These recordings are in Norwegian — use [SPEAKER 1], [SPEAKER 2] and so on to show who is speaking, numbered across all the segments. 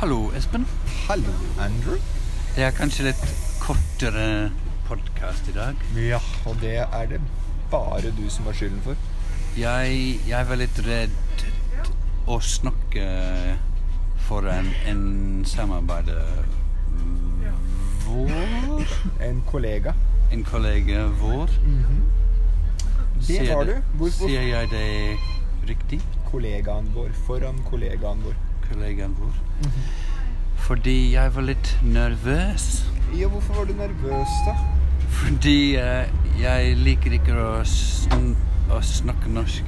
[SPEAKER 1] Hallo, Espen.
[SPEAKER 2] Hallo, Andrew.
[SPEAKER 1] Det er kanskje litt kortere podkast i dag.
[SPEAKER 2] Ja, og det er det bare du som har skylden for.
[SPEAKER 1] Jeg, jeg var litt redd å snakke foran en samarbeider vår
[SPEAKER 2] En kollega.
[SPEAKER 1] En kollega vår.
[SPEAKER 2] Det
[SPEAKER 1] Sier
[SPEAKER 2] var du.
[SPEAKER 1] Mhm. det-
[SPEAKER 2] Hvorfor
[SPEAKER 1] Sier jeg det riktig?
[SPEAKER 2] kollegaen vår foran kollegaen vår?
[SPEAKER 1] Kollegaen vår. Fordi jeg var litt nervøs.
[SPEAKER 2] Ja, hvorfor var du nervøs, da?
[SPEAKER 1] Fordi eh, jeg liker ikke å, sn å snakke norsk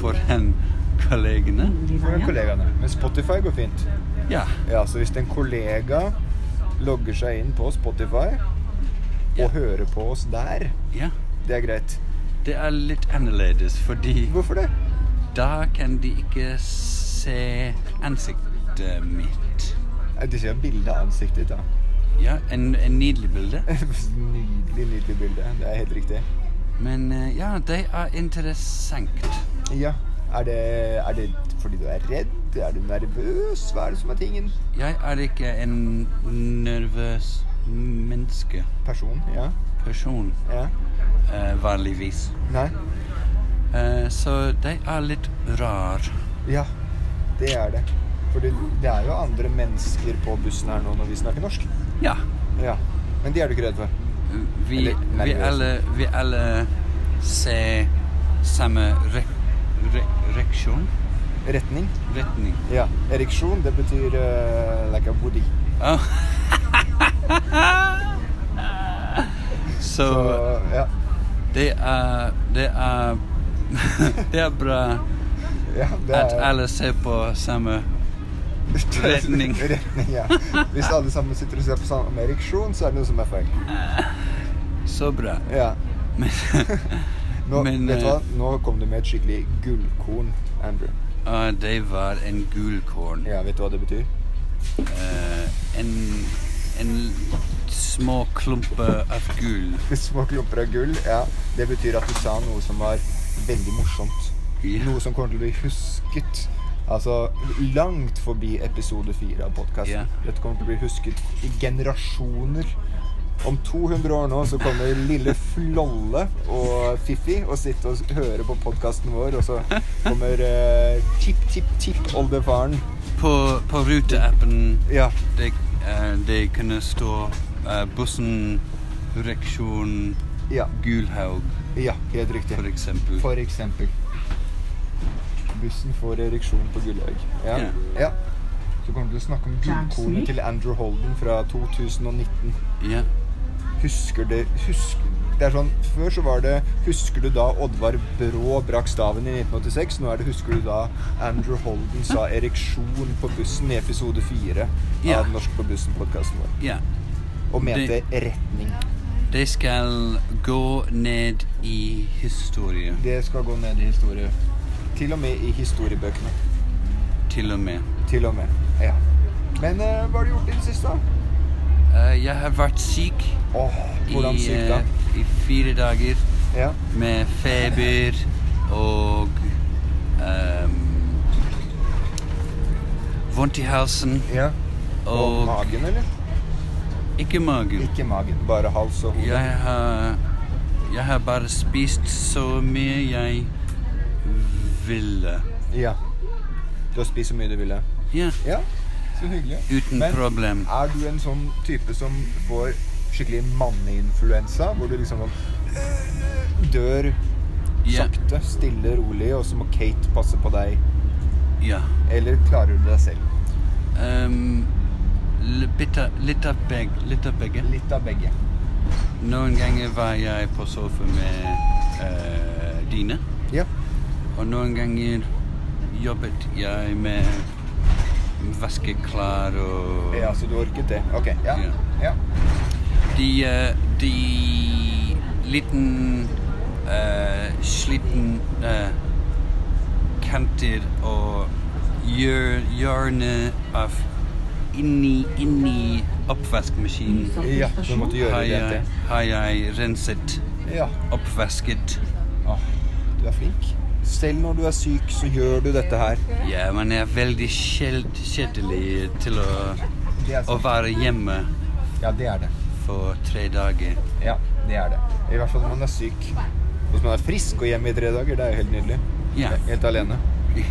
[SPEAKER 1] foran kollegene.
[SPEAKER 2] Foran kollegaene. Men Spotify går fint.
[SPEAKER 1] Ja.
[SPEAKER 2] Ja, så hvis en kollega logger seg inn på Spotify
[SPEAKER 1] Ja.
[SPEAKER 2] og hører på oss der,
[SPEAKER 1] ja.
[SPEAKER 2] det er greit.
[SPEAKER 1] Det er litt annerledes, fordi
[SPEAKER 2] Hvorfor det?
[SPEAKER 1] da kan de ikke se ansiktet mitt.
[SPEAKER 2] Eh, De ser bilde av ansiktet ditt, da.
[SPEAKER 1] Ja, en, en nydelig bilde.
[SPEAKER 2] Nydelig, nydelig bilde. Det er helt riktig.
[SPEAKER 1] Men eh, ja, det er interessant.
[SPEAKER 2] Ja. Er det, er det fordi du er redd? Er du nervøs? Hva er det som er tingen?
[SPEAKER 1] Jeg er ikke en nervøs menneske,
[SPEAKER 2] Person? Ja.
[SPEAKER 1] person,
[SPEAKER 2] ja.
[SPEAKER 1] eh, vanligvis.
[SPEAKER 2] Nei?
[SPEAKER 1] Eh, så det er litt rar.
[SPEAKER 2] Ja. Det er det. For det, det er jo andre mennesker på bussen her nå når vi snakker norsk.
[SPEAKER 1] Ja.
[SPEAKER 2] Ja. Men de er du ikke redd for?
[SPEAKER 1] Vi,
[SPEAKER 2] Eller
[SPEAKER 1] vi,
[SPEAKER 2] nervøs.
[SPEAKER 1] alle, vi alle ser samme re, re, reaksjon.
[SPEAKER 2] Retning?
[SPEAKER 1] Retning.
[SPEAKER 2] Ja. Ereksjon, det betyr eh, like a woody.
[SPEAKER 1] Oh.
[SPEAKER 2] Så
[SPEAKER 1] Så
[SPEAKER 2] ja.
[SPEAKER 1] det er Det er Det er bra
[SPEAKER 2] ja det
[SPEAKER 1] at
[SPEAKER 2] er-
[SPEAKER 1] alle ser på samme retning.
[SPEAKER 2] retning, ja. Hvis alle sammen sitter og ser på samme ereksjon, så er det noe som er feil.
[SPEAKER 1] Så bra.
[SPEAKER 2] Ja.
[SPEAKER 1] Men
[SPEAKER 2] Nå,
[SPEAKER 1] Men,
[SPEAKER 2] vet du hva?
[SPEAKER 1] eh,
[SPEAKER 2] Nå kom du med et skikkelig gullkorn, Andrew.
[SPEAKER 1] ah, det var en gulkorn.
[SPEAKER 2] Ja, vet du hva det betyr?
[SPEAKER 1] Eh, en en små klumper av gull.
[SPEAKER 2] Små klumper av gull. Ja, det betyr at du sa noe som var veldig morsomt.
[SPEAKER 1] Ja.
[SPEAKER 2] Noe som kommer til å bli husket. Altså langt forbi episode fire av
[SPEAKER 1] Ja.
[SPEAKER 2] podkasten. Dette kommer til å bli husket i generasjoner. Om 200 år nå så kommer lille Flolle og Fiffi og sitte og høre på podkasten vår, og så kommer eh, tipp-tipp-tipp-oldefaren.
[SPEAKER 1] På, på ruteappen
[SPEAKER 2] Ja.
[SPEAKER 1] det, eh, det kunne stå eh, bussen reaksjon
[SPEAKER 2] Ja.
[SPEAKER 1] Gulhaug,
[SPEAKER 2] Ja, helt riktig.
[SPEAKER 1] for eksempel.
[SPEAKER 2] For eksempel. Bussen får ereksjon på Gullhaug. Ja.
[SPEAKER 1] Ja.
[SPEAKER 2] ja. Så kommer du til å snakke om gullkornet til Andrew Holden fra 2019.
[SPEAKER 1] Ja.
[SPEAKER 2] Husker det husk, Det er sånn Før så var det 'Husker du da Oddvar Brå brakk staven i 1986?' Nå er det 'Husker du da Andrew Holden sa ereksjon på bussen' i episode fire
[SPEAKER 1] Ja.
[SPEAKER 2] av Norsk på bussen-podkasten vår.
[SPEAKER 1] ja.
[SPEAKER 2] Og mente retning.
[SPEAKER 1] Det skal gå ned i historie,
[SPEAKER 2] Det skal gå ned i historie. Til og med i historiebøkene.
[SPEAKER 1] til og med.
[SPEAKER 2] Til og med. Ja. Men eh, hva har du gjort i det siste? da?
[SPEAKER 1] Eh, jeg har vært syk
[SPEAKER 2] Åh, hvordan
[SPEAKER 1] i,
[SPEAKER 2] syk, da?
[SPEAKER 1] eh, i fire dager
[SPEAKER 2] Ja.
[SPEAKER 1] med feber og ehm, vondt i halsen
[SPEAKER 2] ja. Og,
[SPEAKER 1] og
[SPEAKER 2] magen, eller?
[SPEAKER 1] ikke magen.
[SPEAKER 2] Ikke magen, bare hals og hode.
[SPEAKER 1] Jeg har, jeg har bare spist så mye jeg ville.
[SPEAKER 2] Ja. Du har spist så mye du ville?
[SPEAKER 1] Ja,
[SPEAKER 2] Ja. Så hyggelig.
[SPEAKER 1] uten
[SPEAKER 2] Men
[SPEAKER 1] problem.
[SPEAKER 2] er du en sånn type som får skikkelig manneinfluensa, hvor du liksom sånn dør
[SPEAKER 1] Ja,
[SPEAKER 2] sakte, stille, rolig, og så må Kate passe på deg?
[SPEAKER 1] ja.
[SPEAKER 2] Eller klarer du deg selv?
[SPEAKER 1] Ehm, li- bitte- litt av begge. Litt av begge.
[SPEAKER 2] Litt av begge.
[SPEAKER 1] Noen ganger var jeg på sofa med eh, Dine,
[SPEAKER 2] Ja.
[SPEAKER 1] og noen ganger jobbet jeg med vaskeklær og
[SPEAKER 2] ja, så du orket det. Ok. Ja.
[SPEAKER 1] Ja.
[SPEAKER 2] ja.
[SPEAKER 1] De, eh, de liten eh, sliten eh, kanter og hjør, hjørne av inni, inni oppvaskmaskinen
[SPEAKER 2] Ja, du måtte gjøre
[SPEAKER 1] har
[SPEAKER 2] det.
[SPEAKER 1] jeg, har jeg renset,
[SPEAKER 2] Ja. Ah,
[SPEAKER 1] oppvasket.
[SPEAKER 2] Du er flink. Selv når du er syk, så gjør du dette her.
[SPEAKER 1] Ja, men jeg er veldig kjeld, kjedelig til å,
[SPEAKER 2] Det er
[SPEAKER 1] å
[SPEAKER 2] sant.
[SPEAKER 1] være hjemme
[SPEAKER 2] Ja, det er det.
[SPEAKER 1] for tre dager.
[SPEAKER 2] Ja, det er det. I hvert fall når man er syk. Hvis man er frisk og hjemme i tre dager, det er jo helt nydelig.
[SPEAKER 1] Ja.
[SPEAKER 2] Helt alene.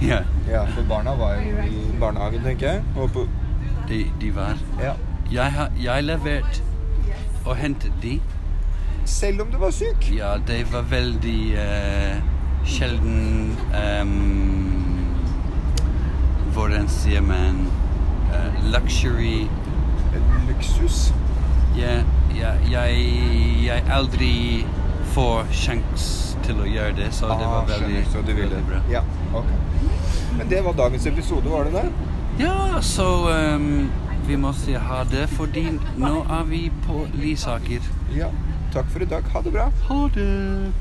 [SPEAKER 1] ja.
[SPEAKER 2] Ja, for barna var jo i barnehagen, tenker jeg. Og på
[SPEAKER 1] De, de var
[SPEAKER 2] Ja.
[SPEAKER 1] Jeg har jeg levert og hentet de.
[SPEAKER 2] Selv om du var syk.
[SPEAKER 1] Ja, de var veldig eh, sjelden ehm, Hvordan sier man eh, Luxury.
[SPEAKER 2] Luksus.
[SPEAKER 1] Ja, ja, jeg, jeg aldri får sjans til å gjøre det, så det
[SPEAKER 2] Ah,
[SPEAKER 1] var veldig,
[SPEAKER 2] skjønner, så du ville.
[SPEAKER 1] veldig bra.
[SPEAKER 2] Ja, ok. Men det var dagens episode, var det det?
[SPEAKER 1] Ja, så ehm, vi må si ha det, fordi nå er vi på Lysaker.
[SPEAKER 2] Ja. Takk for i dag. Ha det bra.
[SPEAKER 1] Ha det!